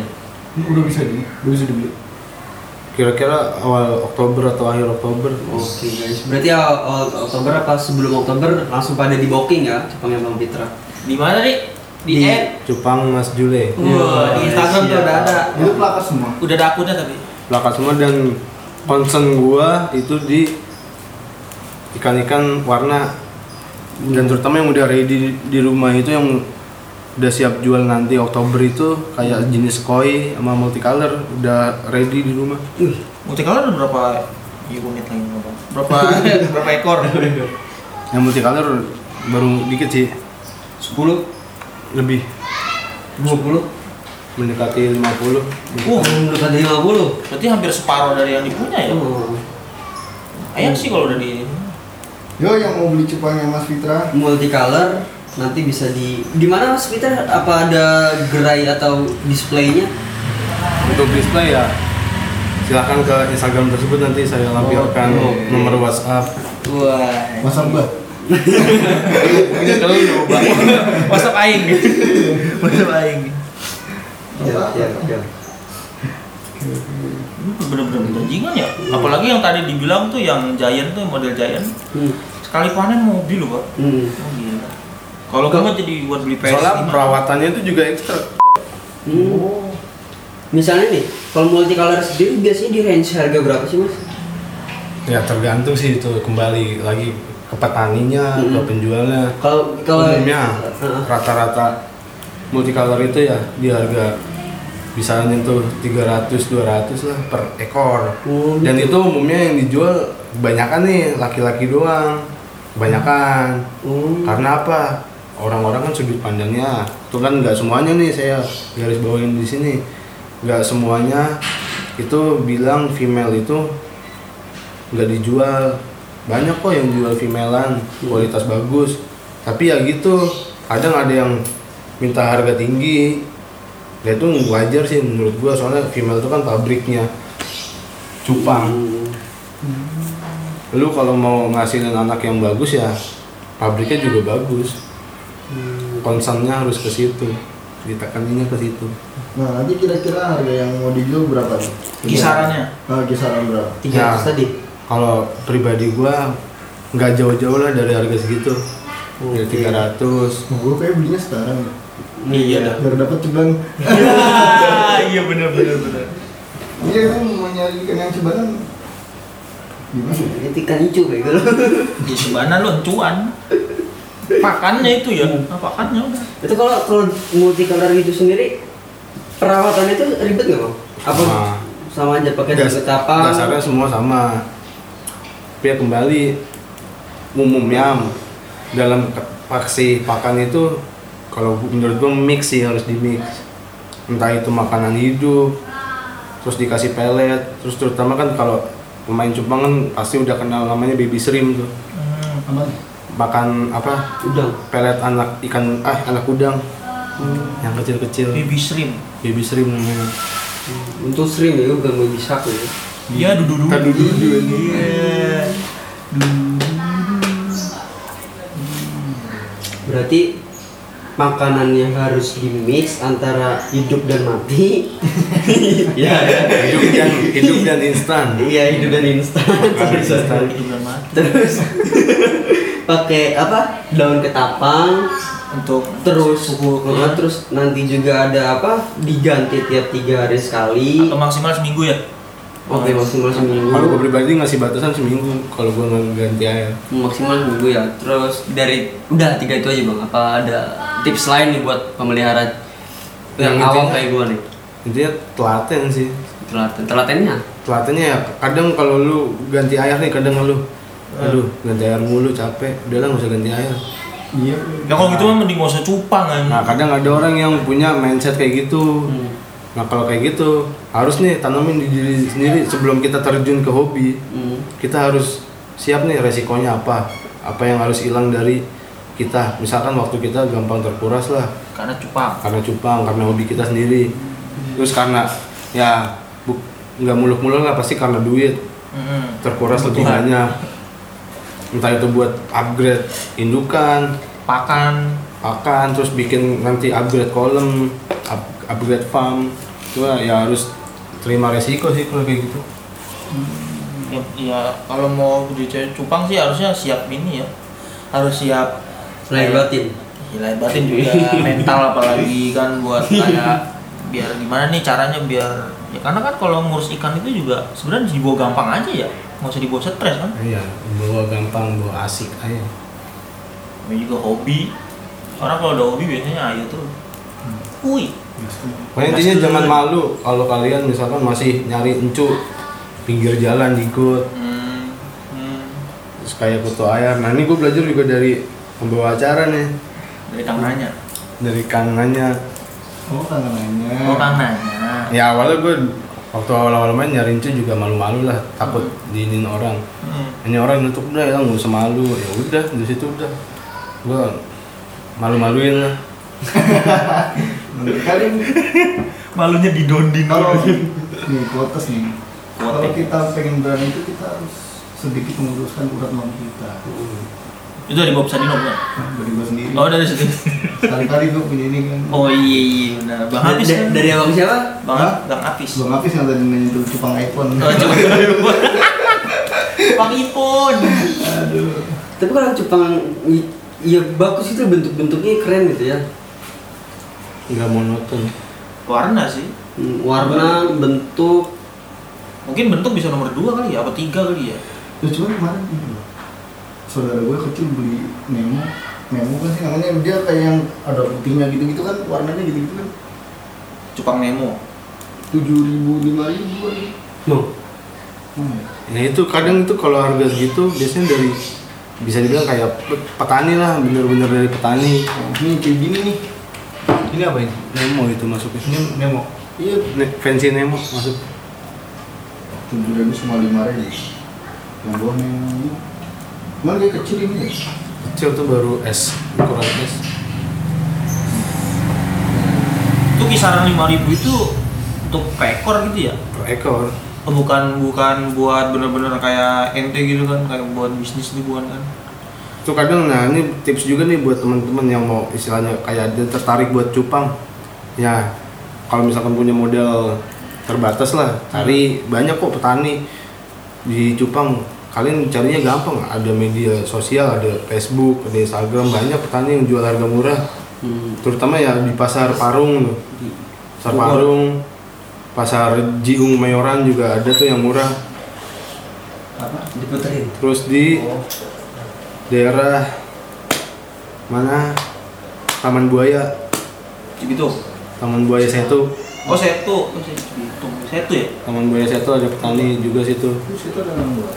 A: Ini udah bisa di, udah bisa dibeli.
C: kira-kira awal Oktober atau akhir Oktober
D: Oke guys, berarti ya awal Oktober apa sebelum Oktober langsung pada di booking ya cupangnya Bang Fitra.
B: Di mana nih? Di,
D: Di-
B: app.
C: Cupang Mas Jule
B: Wah, di Instagram tuh
D: Iya.
B: udah ada.
A: Itu plakat semua.
B: Udah ada akunnya tapi.
C: Lakat semua dan concern gua itu di ikan-ikan warna dan terutama yang udah ready di- di rumah itu yang udah siap jual nanti Oktober itu kayak jenis koi sama multicolor udah ready di rumah
B: Multicolor ada berapa unit lagi Bang? Berapa (laughs) berapa ekor?
C: yang multicolor baru dikit sih
D: 10
C: lebih
D: 20
C: mendekati 50
B: Wah,
D: mendekati 50.
B: berarti hampir separuh dari yang dipunya ya.
D: Oh.
B: Ayang sih kalau udah di
A: Yo yang mau beli cupangnya Mas Fitra,
D: multicolor nanti bisa di di mana mas Peter apa ada gerai atau displaynya
C: untuk display ya silahkan ke Instagram tersebut nanti saya lampirkan
A: Oke.
C: nomor WhatsApp
B: Wah.
A: Mas Abah.
B: Kalau lu ubah. WhatsApp aing. WhatsApp aing.
A: Iya,
D: Iya,
B: Ini Bener-bener bajingan ya. Apalagi yang tadi dibilang tuh yang giant tuh model giant.
D: Hmm.
B: Sekali panen mobil loh, Pak.
D: Hmm.
B: Oh, gila. Kalau kamu jadi buat beli PS5.
C: soalnya perawatannya itu juga ekstra
D: Hmm.
A: Oh.
D: misalnya nih kalau multicolor sendiri biasanya di range harga berapa sih mas
C: Ya tergantung sih itu kembali lagi ke petaninya,
D: Mm-mm.
C: ke penjualnya.
D: kalau kalau
C: Umumnya
D: Heeh.
C: rata-rata multicolor itu ya di harga bisa nyentuh 300 200 lah per ekor.
D: Oh,
C: Dan
D: gitu.
C: itu umumnya yang dijual kebanyakan nih laki-laki doang. Kebanyakan.
D: Oh.
C: Karena apa? Orang-orang kan sudut pandangnya itu kan nggak semuanya nih saya garis bawain di sini nggak semuanya itu bilang female itu nggak dijual banyak kok yang jual femalean kualitas bagus tapi ya gitu kadang ada yang minta harga tinggi ya itu wajar sih menurut gua soalnya female itu kan pabriknya cupang
D: Hmm.
C: lu kalau mau ngasilin anak yang bagus ya pabriknya juga bagus concernnya harus ke situ ditekaninnya ke situ
A: Nah nanti kira-kira harga yang mau dijual berapa nih?
B: kisarannya.
A: Nah, kisaran berapa?
D: 300
C: Nah.
D: tadi
C: kalau pribadi gua nggak jauh-jauh lah dari harga segitu dari
D: Oke.
C: 300
A: Nah, gue kayak belinya sekarang ya.
B: Iya dah.
A: Biar dapat ceban.
B: iya bener bener bener.
A: Iya kan mau nyari ikan yang cebanan. Gimana?
B: Iya.
A: ya?
D: ini ikan hijau kayak gitu
B: Di sebana lu encuan. Pakannya itu ya,
F: Ah,
B: nah, pakannya udah.
D: itu kalau kalau multicolor gitu sendiri perawatannya itu ribet nggak bang apa
C: Sama.
D: sama aja pakai
C: Das-
D: daun ketapang
C: dasarnya semua sama tapi ya kembali umumnya dalam ke- paksi pakan itu kalau bu- menurut gue mix sih harus di mix entah itu makanan hidup terus dikasih pelet terus terutama kan kalau pemain cupang kan pasti udah kenal namanya baby shrimp tuh
B: Hmm.
A: Apa?
C: makan apa
D: udang
C: pelet anak ikan ah anak udang yang kecil-kecil
B: Baby shrimp.
C: baby shrimp namanya
D: Untuk stream ya, bukan mau bisa aku ya.
B: Iya dudu dudu.
C: Tadi dulu ini
B: Iya.
D: Berarti makanan yang harus di mix antara hidup dan mati.
C: (laughs)
D: Iya, ya.
C: hidup dan hidup dan instan
D: Iya, hidup dan instan. Sorry, sorry.
B: Itu bulan Maret.
D: Terus (laughs) pakai apa? Daun ketapang.
B: Untuk
D: Terus
B: pukul
D: Nah, terus nanti juga ada apa? Diganti tiap tiga hari sekali.
B: atau maksimal seminggu ya.
D: Oke, maksimal
C: Kalau gue
D: seminggu.
C: pribadi ngasih batasan seminggu kalau gue nggak ganti air.
E: maksimal seminggu ya terus dari udah tiga itu aja bang apa ada tips lain nih buat pemelihara yang
C: Yang
E: awam
C: intinya-
E: kayak gue nih
C: Intinya telaten sih.
G: telaten telatennya
C: telatennya ya kadang kalau lu ganti air nih kadang lu aduh ganti air mulu capek udah lah nggak usah ganti air
A: Iya.
F: Ya kalau gitu mah mending gak usah cupang kan.
C: nah kadang ada orang yang punya mindset kayak gitu
G: Hmm.
C: nah kalau kayak gitu harus nih tanamin di diri sendiri sebelum kita terjun ke hobi
G: Hmm.
C: kita harus siap nih resikonya apa apa yang harus hilang dari kita misalkan waktu kita gampang terkuras lah
F: Karena cupang.
C: karena cupang karena hobi kita sendiri terus karena ya bu- nggak muluk-muluk lah pasti karena duit
F: Mm-mm.
C: terkuras lebih
F: Kebutuhan.
C: banyak entah itu buat upgrade indukan
F: Pakan.
C: pakan terus bikin nanti upgrade kolom up- upgrade farm itu lah ya harus terima resiko sih kalau kayak gitu
F: Ya, ya, kalau mau jadi cupang sih harusnya siap ini ya. Harus siap
D: lahir batin
F: Gila batin juga mental apalagi kan (laughs) buat kayak biar gimana nih caranya biar ya karena kan kalau ngurus ikan itu juga sebenarnya dibawa gampang aja ya nggak usah dibawa stres kan
C: iya bawa gampang bawa asik aja
F: Ini juga hobi orang kalau udah hobi biasanya ayo tuh Hmm. Wih,
C: Pokoknya intinya jangan malu kalau kalian misalkan masih nyari encu pinggir jalan di ikut
F: hmm, hmm,
C: terus kayak kutu ayam. Nah ini gue belajar juga dari pembawa acara nih
F: dari kang nanya
C: dari Kang Nanya.
A: Oh kangen nanya.
F: oh kang nanya
C: Ya awalnya gue waktu awal-awal main nyari encu juga malu-malu lah takut diinin orang.
F: Hmm.
C: Hanya orang nutup udah ya nggak usah malu ya udah di situ udah gue malu-maluin lah.
A: Kalian
F: malunya didondin
A: kalau Iya.
F: iya.
A: nih kuotas nih. Kalau kita pengen berani itu kita harus sedikit meluruskan urat nong kita
F: itu dari Bob Sadino bukan?
A: dari gua sendiri.
F: oh dari situ
A: Kali-kali gua punya ini kan.
F: oh iya iya benar bang
D: Da-
F: Apis
D: da-
F: kan?
D: dari abang siapa
F: bang
A: Hah?
F: bang Apis
A: Gua ngapis yang tadi menyentuh cupang iPhone.
F: Oh,
A: (laughs)
F: coba Bang Ipon.
A: Aduh.
D: tapi kalau cupang i- ya bagus itu bentuk-bentuknya keren gitu ya
C: nggak monoton.
F: Warna sih.
D: Hmm, warna bentuk
F: Mungkin bentuk bisa nomor dua kali ya, apa tiga kali ya.
A: Ya cuman kemarin ini loh. Saudara gue kecil beli Nemo. Nemo kan sih namanya dia kayak yang ada putihnya gitu-gitu kan warnanya gitu-gitu kan.
F: Cupang Nemo.
A: Tujuh ribu lima ribu kan. aja.
C: No.
A: Hmm. ya.
C: Nah itu kadang itu kalau harga segitu biasanya dari bisa dibilang kayak pe- petani lah bener-bener dari petani.
A: Nah, Ini kayak gini nih.
C: Ini apa ini? Nemo itu masuknya. Ini Nemo.
A: Iya.
C: Ne- Fancy Nemo masuk.
A: Tujuh ribu cuma lima ribu. Yang gue Nemo. Cuman dia kecil ini ya.
C: Kecil tuh baru S ukuran S.
F: Itu kisaran lima ribu itu untuk pekor gitu ya.
C: Per ekor.
F: Oh, Bukan bukan buat bener-bener kayak ente gitu kan, kayak buat bisnis gitu bukan kan.
C: Itu kadang nah ini tips juga nih buat teman-teman yang mau istilahnya kayak ada tertarik buat cupang. Ya kalau misalkan punya modal terbatas lah, cari banyak kok petani di cupang kalian carinya gampang ada media sosial ada Facebook ada Instagram banyak petani yang jual harga murah
D: hmm,
C: terutama ya di pasar Parung tuh. pasar Parung pasar Jiung Mayoran juga ada tuh yang murah
A: Apa?
D: diputerin
C: terus di
A: Oh.
C: daerah mana Taman Buaya
F: Gitu.
C: Taman Buaya Setu
F: Oh, setu. Oh, setu. Gitu. Setu ya?
C: Taman Buaya Setu ada petani juga situ
A: Terus itu ada yang gue.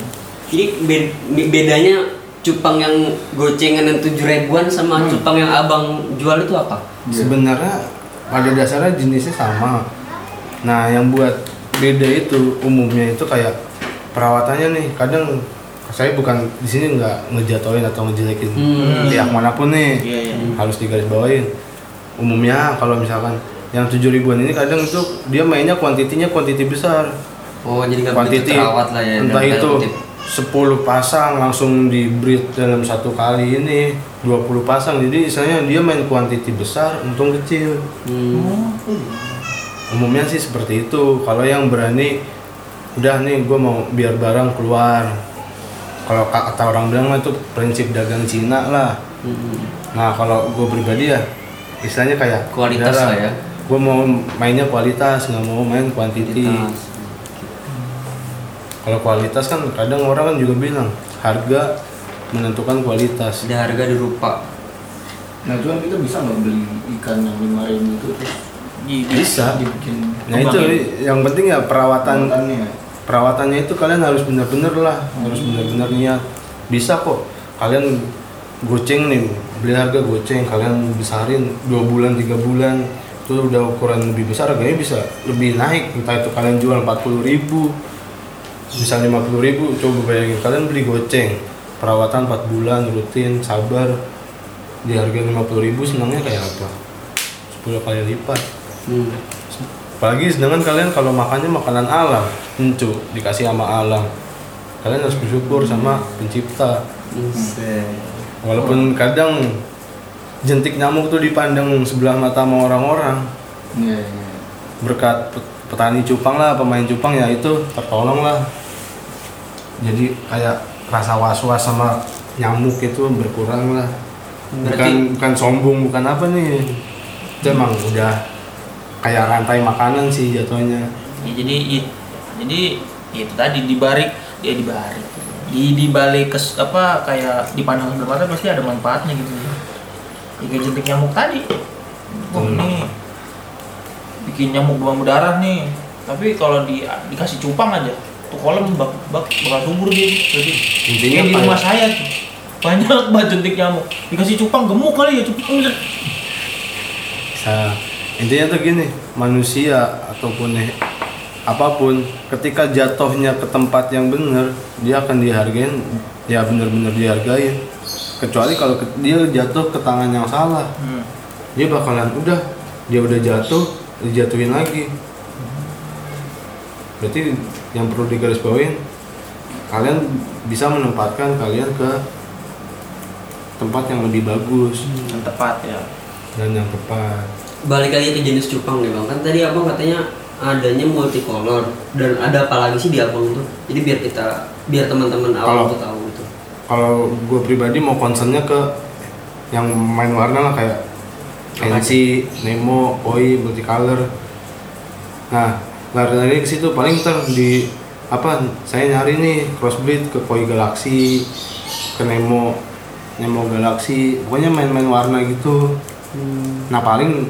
G: jadi be- be- bedanya cupang yang gocengan yang tujuh ribuan sama
D: Hmm.
G: cupang yang abang jual itu apa
F: Iya.
C: sebenarnya pada dasarnya jenisnya sama nah yang buat beda itu umumnya itu kayak perawatannya nih kadang saya bukan di sini nggak ngejatoin atau ngejelekin
G: Hmm.
C: pihak manapun nih
F: Iya, iya.
C: harus digarisbawain umumnya kalau misalkan yang tujuh ribuan ini kadang itu dia mainnya kuantitinya kuantiti besar
D: oh jadi nggak begitu
C: kuantiti
D: terawat lah ya
C: entah
D: dalam tanda
C: itu
D: kutip.
C: 10 pasang langsung di breed dalam satu kali ini 20 pasang jadi misalnya dia main kuantiti besar untung kecil
D: Hmm.
C: umumnya sih seperti itu kalau yang berani udah nih gue mau biar barang keluar kalau ka- kata orang bilang mah itu prinsip dagang Cina lah
G: Mm-hmm.
C: nah kalau gue pribadi ya istilahnya kayak
G: Kualitas lah ya.
C: gue mau mainnya kualitas nggak mau main kuantiti
G: Kualitas.
C: kalau kualitas kan kadang orang kan juga bilang harga menentukan kualitas
G: ada harga ada rupa
A: Nah cuman kita bisa nggak beli ikan yang lima ribu itu terus
F: Iya.
C: bisa
A: dibikin
C: Nah itu yang penting ya perawatan
A: Tantangannya.
C: perawatannya itu kalian harus bener-bener lah harus bener-bener niat bisa kok kalian goceng nih beli harga goceng kalian besarin dua bulan tiga bulan itu udah ukuran lebih besar harganya bisa lebih naik entah itu kalian jual 40.000 ribu bisa 50.000 coba bayangin kalian beli goceng perawatan 4 bulan rutin sabar di harga 50.000 senangnya kayak apa 10 kali lipat
D: Hmm.
C: Apalagi sedangkan kalian kalau makannya makanan alam, encu dikasih sama alam. Kalian harus bersyukur sama pencipta. Walaupun kadang jentik nyamuk tuh dipandang sebelah mata sama orang-orang.
A: Iya, iya.
C: Berkat pe- petani cupang lah, pemain cupang ya itu tertolong lah. Jadi kayak rasa was-was sama nyamuk itu berkurang lah. Bukan, bukan sombong, bukan apa nih. Itu emang udah kayak rantai makanan sih jatuhnya.
B: Ya, jadi i- jadi itu tadi dibalik ya dibalik di dibalik kes apa kayak dipandang sebelah mata pasti ada manfaatnya gitu ya kayak jentik nyamuk tadi wah
C: Hmm.
B: ini bikin nyamuk demam berdarah nih tapi kalau di, dikasih cupang aja tuh kolam bak, bak, bakal subur dia jadi
C: Intinya
B: kayak di
C: apa
B: rumah
C: ya?
B: saya tuh banyak banget jentik nyamuk dikasih cupang gemuk kali ya cupang
C: Nah, intinya tuh gini, manusia ataupun eh, apapun ketika jatuhnya ke tempat yang benar, dia akan dihargain, ya benar-benar dihargain. Kecuali kalau ke- dia jatuh ke tangan yang salah,
B: hmm.
C: dia bakalan udah, dia udah jatuh, dijatuhin lagi. Berarti yang perlu digarisbawahi, kalian bisa menempatkan kalian ke tempat yang lebih bagus
B: yang tepat ya
C: dan yang tepat.
D: Balik lagi ke jenis cupang nih bang, kan tadi abang katanya adanya multicolor dan ada apa lagi sih di abang tuh? Jadi biar kita, biar teman-teman
C: Kalau-
D: awam tuh tahu gitu.
C: kalau gue pribadi mau concernnya ke yang main warna lah kayak pensi, Nemo, Oi, Multicolor. Nah, lari-lari ke situ paling ntar di apa saya nyari nih crossbreed ke Koi Galaxy, ke Nemo, Nemo Galaxy, pokoknya main-main warna gitu. Nah paling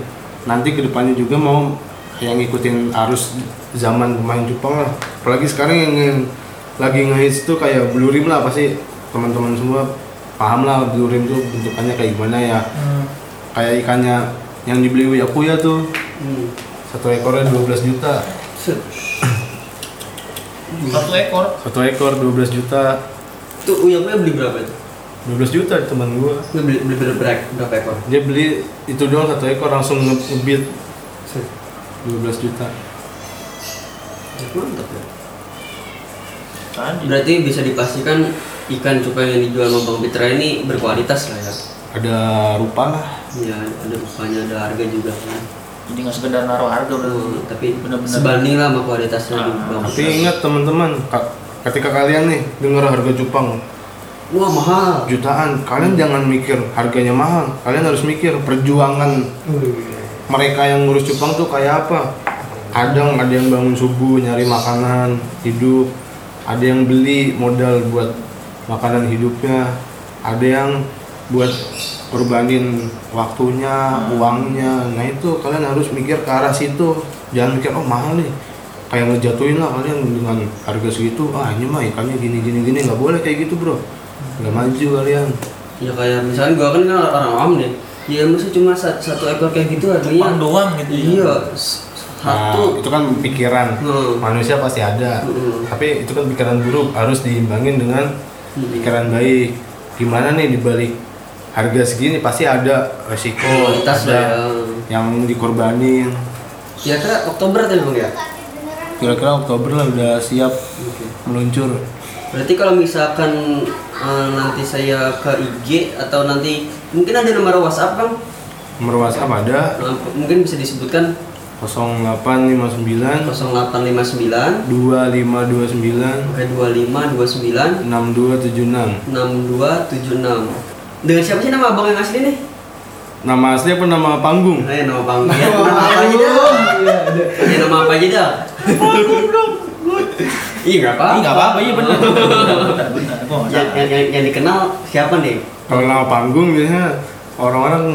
C: nanti kedepannya juga mau yang ngikutin arus zaman pemain Jepang lah. Apalagi sekarang yang, yang lagi ngehits tuh kayak Blue Rim lah pasti teman-teman semua paham lah Blue Rim tuh bentukannya kayak gimana ya.
B: hmm.
C: Kayak ikannya yang dibeli Yakuya tuh
D: Hmm.
C: satu ekornya 12 juta.
D: Set.
B: satu ekor
C: Satu ekor 12 juta.
D: Tuh uyang Uyang beli berapa itu?
C: 12 juta teman gua.
D: Lu beli, beli berapa, berapa ekor?
C: Dia beli itu doang satu ekor langsung nge- ngebit
D: Set.
C: 12 juta.
D: Mantap ya.
B: tadi
D: Berarti bisa dipastikan ikan cupang yang dijual sama Bang Pitra ini berkualitas lah ya.
C: Ada rupa lah.
D: Ya ada rupanya ada harga juga kan.
B: jadi nggak sekedar naruh harga
D: Hmm,
B: berarti
D: tapi
B: benar-benar
D: sebanding lah sama kualitasnya di Bang
C: Tapi
D: Pitra.
C: ingat teman-teman, ka- ketika kalian nih dengar harga cupang
D: Wah mahal.
C: jutaan, kalian jangan mikir harganya mahal. Kalian harus mikir perjuangan mereka yang ngurus cupang tuh kayak apa. Kadang ada yang bangun subuh nyari makanan hidup, ada yang beli modal buat makanan hidupnya, ada yang buat korbanin waktunya, uangnya. Nah itu kalian harus mikir ke arah situ. Jangan mikir oh mahal nih. Kayak ngejatuhin lah kalian dengan harga segitu. Ah ini mah ikannya gini gini gini nggak boleh kayak gitu bro. Nggak maju kalian.
D: Ya kayak misalnya gua kan kan orang awam deh. Ya masa cuma sa- satu ekor kayak gitu
B: cupang
D: harganya.
B: doang gitu ya
D: Iya. s-
C: Nah,
D: Satu.
C: itu kan pikiran.
D: Hmm.
C: Manusia pasti ada.
D: Hmm.
C: Tapi itu kan pikiran buruk harus diimbangin dengan
D: Hmm.
C: pikiran baik. Gimana nih dibalik harga segini pasti ada resiko,
D: Kualitas lah ya.
C: ada yang dikorbanin.
D: Kira-kira Oktober tadi Bang ya?
C: Kira-kira Oktober lah udah siap
D: Oke.
C: meluncur.
D: Berarti kalau misalkan eh, nanti saya ke IG atau nanti mungkin ada nomor WhatsApp Bang?
C: Nomor WhatsApp ada
D: Eh, Mungkin bisa disebutkan
C: 0859 2529
D: 0859 oke 2529
C: 6276.
D: 6276 dengan siapa sih nama abang yang asli nih?
C: Nama asli apa nama panggung?
D: Eh nama abang ya, (laughs) nama apa aja dah? Ya nama apa aja dah? Ih nggak apa?
B: Ih, nggak apa-apa iya benar benar benar gua nggak
D: Yang,
B: salah
D: yang, yang, yang dikenal siapa nih?
C: Kalau nama panggung biasanya orang-orang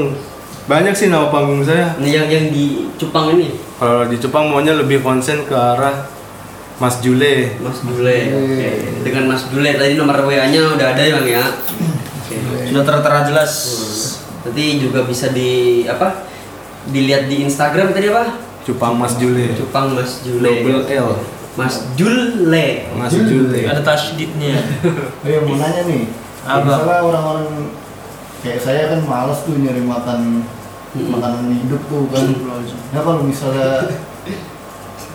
C: Banyak sih nama panggung saya.
D: Nah, yang yang di Cupang ini
C: Kalau di Jepang maunya lebih konsen ke arah Mas Jule.
D: Mas Dule. Oke. Dengan Mas Dule tadi nomor WA-nya udah ada ya Bang ya. Oke.
B: Sudah tertera jelas.
D: Nanti juga bisa di apa? Dilihat di Instagram tadi apa?
C: Cupang Mas Jule.
D: Cupang Mas
C: Double
D: Jule.
C: L.
D: Mas Jule.
C: Mas Jule.
B: Ada tasdidnya.
A: Oh iya, mau nanya nih.
B: Apa?
A: Kalau misalnya orang-orang kayak saya kan malas tuh nyari makan
D: Hmm.
A: makanan hidup tuh kan. Nah kalau misalnya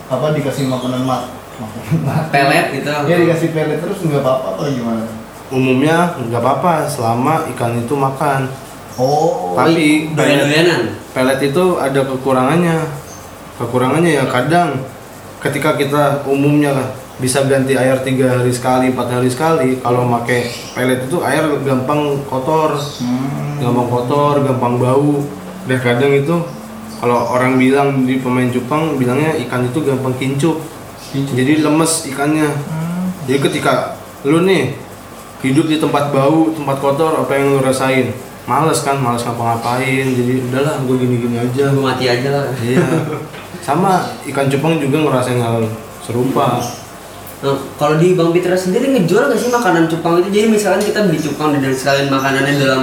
A: apa dikasih makanan mat, makanan mat.
D: Pelet gitu.
B: Iya,
A: Ya dikasih pelet terus nggak apa-apa apa gimana?
C: Umumnya nggak apa-apa selama ikan itu makan.
A: Oh.
C: Tapi iya. pelet, ya?
D: Doyan-doyanan.
C: pelet itu ada kekurangannya. Kekurangannya ya kadang ketika kita umumnya kan bisa ganti air tiga hari sekali, empat hari sekali. Kalau pakai pelet itu air gampang kotor.
A: Hmm.
C: gampang kotor, gampang bau. Dan kadang itu kalau orang bilang di pemain Jepang bilangnya ikan itu gampang kincuk. Jadi lemes ikannya. Jadi ketika lu nih hidup di tempat bau, tempat kotor, apa yang lu rasain? Males kan, males ngapa-ngapain. Jadi udahlah gue gini-gini aja.
D: (laughs) Gua mati aja lah.
C: Iya. Sama ikan Jepang juga ngerasain hal serupa.
D: Nah, kalau di Bang Pitra sendiri ngejual nggak sih makanan Cupang itu? Jadi misalkan kita beli Cupang dan sekalian makanannya dalam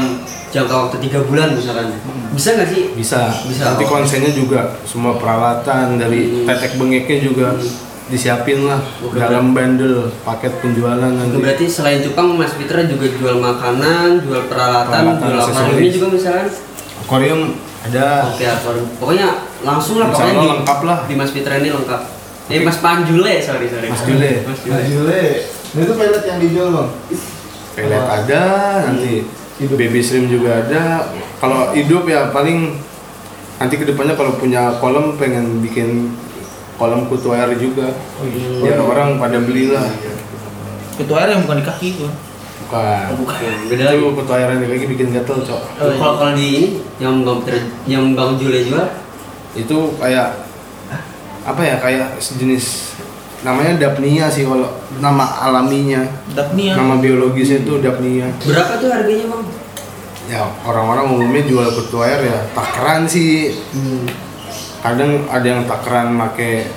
D: jangka waktu tiga bulan misalkan, bisa nggak sih?
C: Bisa.
D: Bisa. Hmm.
C: Nanti konsennya juga semua peralatan dari tetek bengeknya juga disiapin lah
D: Oke.
C: dalam bandel paket penjualan
D: Itu
C: nanti.
D: berarti selain Cupang, Mas Pitra juga jual makanan, jual peralatan,
C: Peralatan,
D: jual
C: aksesoris.
D: akuariumnya juga misalkan.
C: Akuarium ada.
D: Oke, akuarium. Pokoknya langsung lah,
C: Insya
D: pokoknya
C: Allah
D: di, Hmm.
C: lengkap lah.
D: di Mas Pitra ini lengkap. Eh, Mas Panjule, sorry sorry.
C: Mas Jule.
D: Mas Jule.
A: Nah, Jule. Nah, itu pelet yang dijual bang.
C: Pelet ada
D: Hmm.
C: nanti.
A: Hidup.
C: Baby shrimp juga ada. Kalau hidup ya paling nanti kedepannya kalau punya kolam pengen bikin kolam kutu air juga.
D: Oh, iya.
C: Biar orang pada belilah.
B: Itu air yang bukan di kaki itu.
C: Bukan.
B: Bukan.
D: Oh, Beda lagi.
C: Itu kutu air yang lagi bikin gatel cok.
D: Kalau kalau di ini yang Bang Pitra, yang Bang Jule jual,
C: itu kayak apa ya kayak sejenis namanya dapnia sih kalau nama alaminya
B: Dapnia.
C: nama biologisnya itu dapnia
D: berapa tuh harganya Bang?
C: ya orang-orang umumnya jual kutu air ya takaran sih kadang ada yang takaran make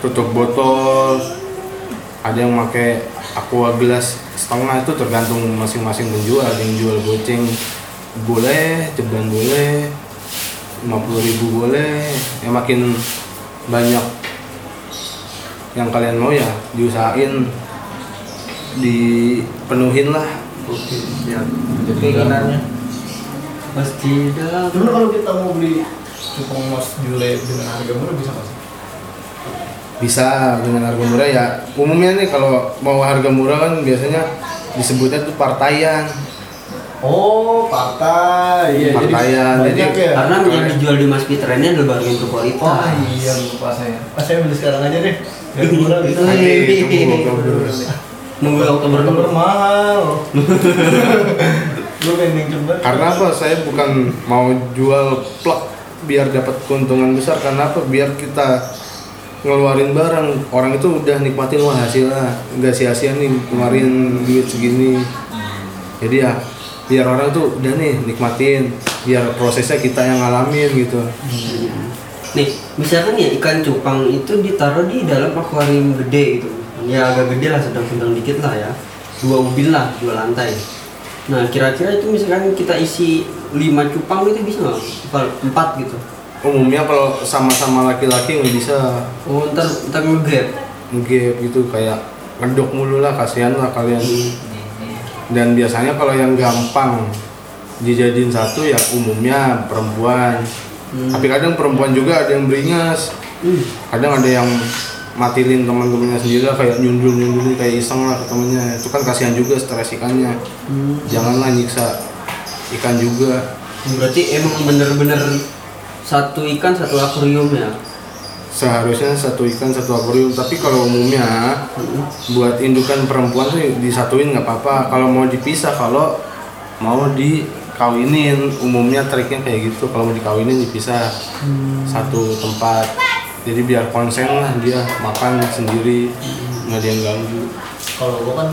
C: tutup botol ada yang make aqua gelas setengah itu tergantung masing-masing penjual ada yang jual goceng boleh ceban boleh 50.000 ribu boleh ya makin banyak yang kalian mau ya diusahain dipenuhin lah
D: Oke, siap.
B: Keinginannya.
D: Pasti dalam.
A: Dulu kalau kita mau beli cupang mas Jule dengan harga murah bisa nggak sih?
C: bisa dengan harga murah ya umumnya nih kalau mau harga murah kan biasanya disebutnya tuh partaian
A: Oh, partai. Iya,
C: Partaian,
A: Jadi, banyak
C: jadi-
A: ya.
D: Karena yang dijual di Mas Pitra ini adalah barang yang berkualitas. Iya.
A: Wah iya lupa saya. Pas saya beli sekarang aja deh.
D: (laughs)
A: Yang murah gitu.
C: Nanti tunggu Oktober.
A: iya.
D: Nunggu Oktober dulu.
A: Oktober mahal. Gue pengen coba.
C: karena apa saya bukan mau jual plak biar dapat keuntungan besar karena apa biar kita ngeluarin barang orang itu udah nikmatin wah hasilnya nggak sia-sia nih kemarin duit segini jadi ya biar orang tuh udah nih nikmatin biar prosesnya kita yang ngalamin gitu
D: Nih, misalkan ya ikan cupang itu ditaruh di dalam akuarium gede gitu. Ya agak gede lah, sedang-sedang dikit lah ya. Dua ubin lah, dua lantai. Nah, kira-kira itu misalkan kita isi lima cupang itu bisa nggak? Apa, Empat gitu.
C: umumnya kalau sama-sama laki-laki nggak bisa
D: Oh, ntar, ntar nge-grab.
C: ngegap gitu kayak ngedok mulu lah kasihan lah kalian dan biasanya kalau yang gampang dijadiin satu ya umumnya perempuan tapi kadang perempuan juga ada yang beringas
D: Hmm.
C: kadang ada yang matilin teman-temannya sendiri lah kayak nyundul nyundul kayak iseng lah ke temennya itu kan kasihan juga stres ikannya janganlah nyiksa ikan juga
D: Berarti emang bener-bener satu ikan satu akuarium ya.
C: seharusnya satu ikan satu akuarium tapi kalau umumnya buat indukan perempuan tuh disatuin nggak apa-apa kalau mau dipisah kalau mau dikawinin umumnya triknya kayak gitu kalau mau dikawinin dipisah satu tempat jadi biar konsen lah dia makan sendiri nggak ada yang ganggu
A: Kalau gue kan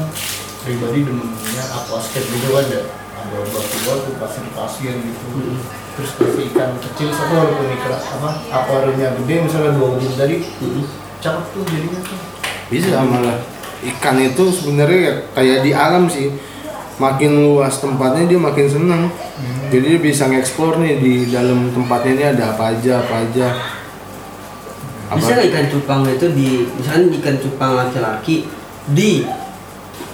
A: pribadi demennya aquascape gitu kan ya. ada batu batu pasir pasir gitu terus kasih ikan kecil satu walaupun ikan apa akuariumnya gede misalnya dua kubus tadi cakep tuh jadinya tuh
C: bisa malah ikan itu sebenarnya ya kayak di alam sih makin luas tempatnya dia makin senang
D: Hmm.
C: jadi dia bisa ngeksplor nih di dalam tempatnya ini ada apa aja apa aja Apa-
D: Bisa nggak ikan cupang itu di misalkan ikan cupang laki-laki di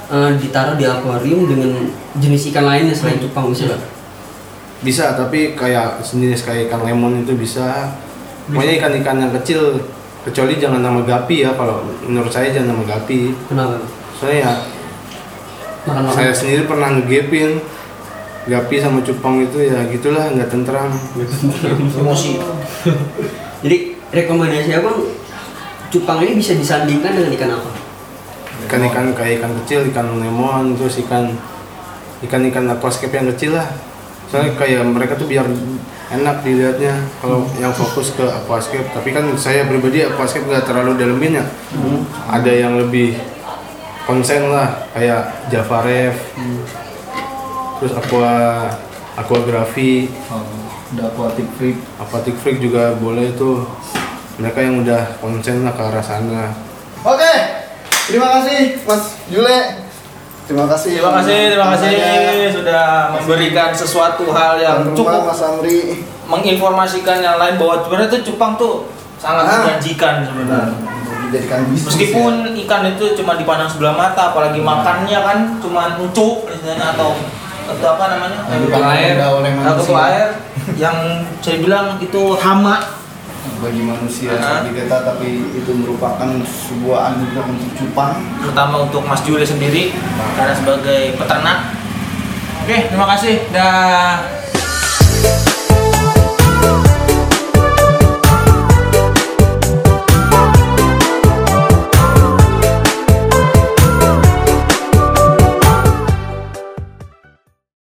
D: eh, ditaruh di akuarium dengan jenis ikan lainnya selain cupang bisa nggak?
C: bisa tapi kayak sejenis kayak ikan lemon itu bisa pokoknya ikan-ikan yang kecil kecuali jangan nama gapi ya kalau menurut saya jangan nama gapi
D: Kenapa?
C: soalnya ya,
D: Makan makan.
C: saya sendiri pernah ngegepin gapi sama cupang itu ya gitulah nggak tentram
B: emosi
D: (laughs) Jadi rekomendasi abang cupang ini bisa disandingkan dengan ikan apa?
C: ikan-ikan kayak ikan kecil ikan lemon terus ikan ikan-ikan aquascape yang kecil lah soalnya kayak mereka tuh biar enak dilihatnya kalau yang fokus ke aquascape tapi kan saya pribadi aquascape nggak terlalu dalemin ya ada yang lebih konsen lah kayak Java Rev terus aqua aquagrafi
A: Oh, ada aquatic freak
C: aquatic freak juga boleh tuh mereka yang udah konsen lah ke arah sana
A: Oke, terima kasih Mas Jule. Terima kasih.
B: terima kasih terima kasih sudah memberikan sesuatu hal yang
A: Yang
B: cukup
A: Mas Amri.
B: menginformasikan yang lain bahwa sebenarnya itu cupang tuh sangat
A: Ah.
B: menjanjikan
A: Benar.
B: sebenarnya
A: Dijadikan bisnis. ya.
B: meskipun ikan itu cuma dipandang sebelah mata
A: Iya.
B: apalagi makannya kan cuma encuk misalnya atau atau apa namanya
A: Yang
B: ke
A: dipandang
B: air
A: rendah oleh
B: atau ke
A: manusia.
B: air yang saya bilang itu hama
A: ya. bagi manusia
B: Ah.
A: seperti kita, tapi itu merupakan sebuah anugerah untuk cupang.
B: terutama untuk Mas
A: Iya.
B: Juli sendiri karena sebagai peternak oke terima kasih dah